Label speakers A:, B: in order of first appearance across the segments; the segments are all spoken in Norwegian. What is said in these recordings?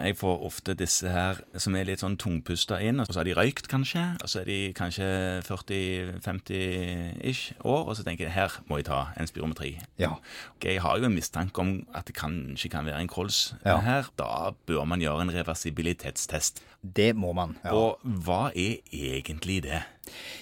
A: Jeg får ofte disse her som er litt sånn tungpusta inn, og så har de røykt kanskje, og så er de kanskje 40-50 ish år, og så tenker jeg her må jeg ta en spirometri.
B: Ja.
A: Ok, Jeg har jo en mistanke om at det kanskje kan være en kols
B: Ja.
A: her. Da bør man gjøre en reversibilitetstest.
B: Det må man. Ja.
A: Og hva er egentlig det?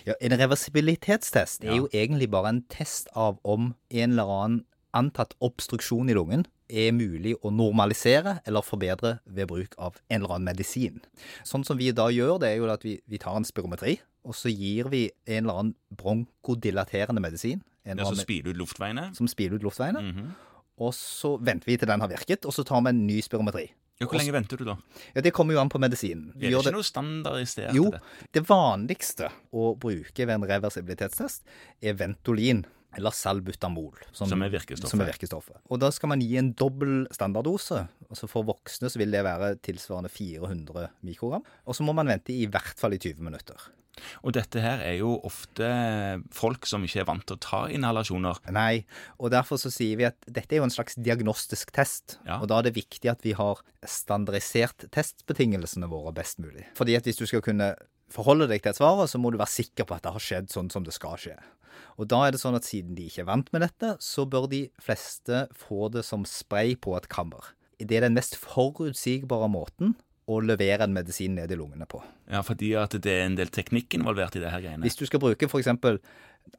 B: Ja, en reversibilitetstest er jo egentlig bare en test av om en eller annen antatt obstruksjon i lungen er mulig å normalisere eller forbedre ved bruk av en eller annen medisin. Sånn som vi da gjør, det er jo at vi, vi tar en spirometri, og så gir vi en eller annen bronkodilaterende medisin. En
A: Det
B: eller
A: å
B: annen
A: spyle Altså, ut luftveiene? Mhm.
B: med- som spiler ut
A: Mm.
B: luftveiene. Og så venter vi til den har virket, og så tar vi en ny spirometri.
A: Ja, Hvor lenge venter du da?
B: Ja, Det kommer jo an på medisinen. Vi
A: Er det
B: gjør
A: ikke noe standardisert?
B: jo,
A: i det?
B: det vanligste å bruke ved en reversibilitetstest er Ventolin. Eller salbutamol,
A: Som er virkestoffet.
B: som er virkestoffet. Og da skal man gi en dobbel standarddose. Altså For voksne så vil det være tilsvarende 400 mikrogram. Og så må man vente i hvert fall i 20 minutter.
A: Og dette her er jo ofte folk som ikke er vant til å ta inhalasjoner.
B: Nei, og derfor så sier vi at dette er jo en slags diagnostisk test.
A: Ja.
B: Og da er det viktig at vi har standardisert testbetingelsene våre best mulig. Fordi at hvis du skal kunne forholde deg til et svar, så må du være sikker på at det har skjedd sånn som det skal skje. Og da er det sånn at siden de ikke er vant med dette, så bør de fleste få det som spray på et kammer. Det er den mest forutsigbare måten å levere en medisin ned i lungene på.
A: Ja, fordi at det er en del teknikk involvert i det her greiene.
B: Hvis du skal bruke f.eks.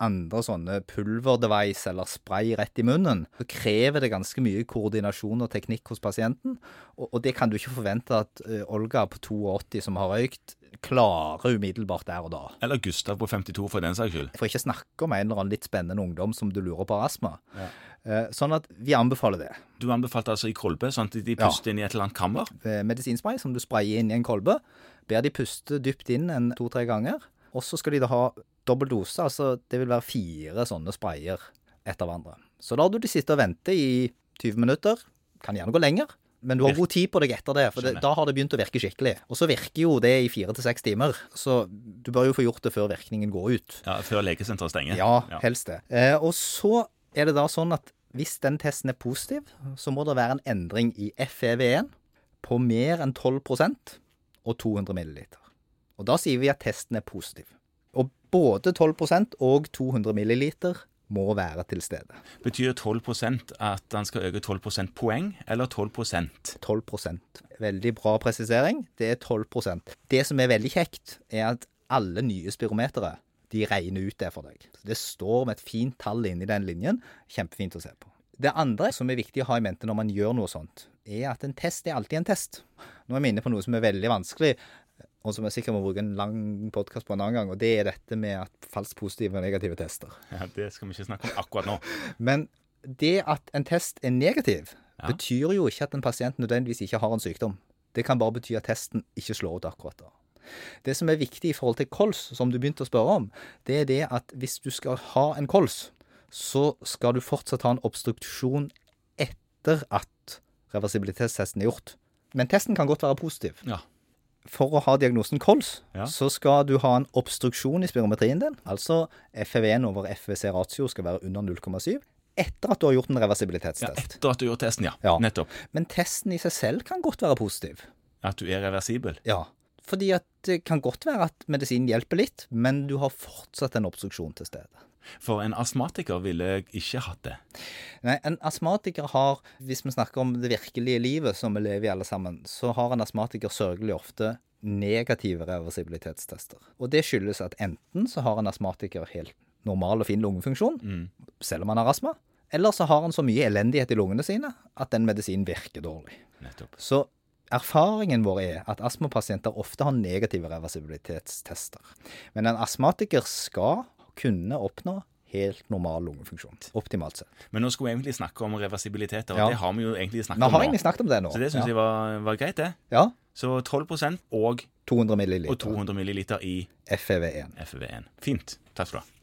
B: andre sånne pulverdevice eller spray rett i munnen, så krever det ganske mye koordinasjon og teknikk hos pasienten. Og, og det kan du ikke forvente at eh, Olga på 82 som har røykt, klarer umiddelbart der og da.
A: Eller Gustav på 52 for den saks skyld.
B: For ikke snakke om en eller annen litt spennende ungdom som du lurer på har astma. Eh, Sånn at vi anbefaler det.
A: Du anbefalte altså i kolbe, sånn at de
B: Ja.
A: puster inn i et eller annet kammer.
B: eh, medisinspray som du sprayer inn i en kolbe. Ber de puste dypt inn en to-tre ganger. Og så skal de da ha dobbel dose, altså det vil være fire sånne sprayer etter hverandre. Så lar du de sitte og vente i 20 minutter. Kan gjerne gå lenger. Men du har god tid på deg etter det, for det,
A: Skjønner.
B: da har det begynt å virke skikkelig. Og så virker jo det i fire til seks timer, så du bør jo få gjort det før virkningen går ut.
A: Ja, Før legesenteret stenger.
B: Ja, helst det. Eh, og så er det da sånn at hvis den testen er positiv, så må det være en endring i FEV1 på mer enn 12 og 200 milliliter. Og da sier vi at testen er positiv. Og både 12 og 200 milliliter må være til stede.
A: Betyr 12 at han skal øke 12 poeng, eller 12
B: 12 Veldig bra presisering. Det er 12 Det som er veldig kjekt, er at alle nye spirometere de regner ut det for deg. Så Det står med et fint tall inni den linjen. Kjempefint å se på. Det andre som er viktig å ha i mente når man gjør noe sånt, er at en test er alltid en test. Nå er vi inne på noe som er veldig vanskelig, og som jeg sikkert må bruke en lang podkast på en annen gang, og det er dette med at falskt positive og negative tester.
A: Ja, Det skal vi ikke snakke om akkurat nå.
B: Men det at en test er negativ,
A: Ja.
B: betyr jo ikke at en pasient nødvendigvis ikke har en sykdom. Det kan bare bety at testen ikke slår ut akkurat da. Det som er viktig i forhold til kols, som du begynte å spørre om, det er det at hvis du skal ha en kols, så skal du fortsatt ha en obstruksjon etter at reversibilitetstesten er gjort. Men testen kan godt være positiv
A: Ja.
B: for å ha diagnosen kols,
A: Ja.
B: så skal du ha en obstruksjon i spirometrien din. Altså FEV1 over FVC ratio skal være under 0,7 etter at du har gjort en
A: ja
B: reversibilitetstest.
A: etter at du gjør testen, ja.
B: Ja.
A: Nettopp.
B: Men testen i seg selv kan godt være positiv.
A: At du er reversibel.
B: Ja. Fordi at det kan godt være at medisinen hjelper litt, men du har fortsatt en obstruksjon til stede.
A: For en astmatiker ville ikke hatt det.
B: Nei, en astmatiker har, hvis vi snakker om det virkelige livet som vi lever i alle sammen, så har en astmatiker sørgelig ofte negative reversibilitetstester. Og det skyldes at enten så har en astmatiker helt normal og fin lungefunksjon,
A: Mm.
B: selv om han har astma, eller så har han så mye elendighet i lungene sine at den medisinen virker dårlig.
A: Nettopp.
B: Så erfaringen vår er at astmapasienter ofte har negative reversibilitetstester. Men en astmatiker skal kunne oppnå helt normal lungefunksjon, optimalt sett.
A: Men nå skulle vi egentlig snakke om reversibilitet, og
B: Ja.
A: det har vi jo egentlig snakket
B: Vi
A: om
B: har egentlig snakket om det nå.
A: Så det syns
B: ja.
A: jeg var, var greit, det.
B: ja.
A: Så 12 og,
B: 200
A: og
B: milliliter. E
A: 200 milliliter i
B: FEV1.
A: FV1. Fint. Takk skal du ha.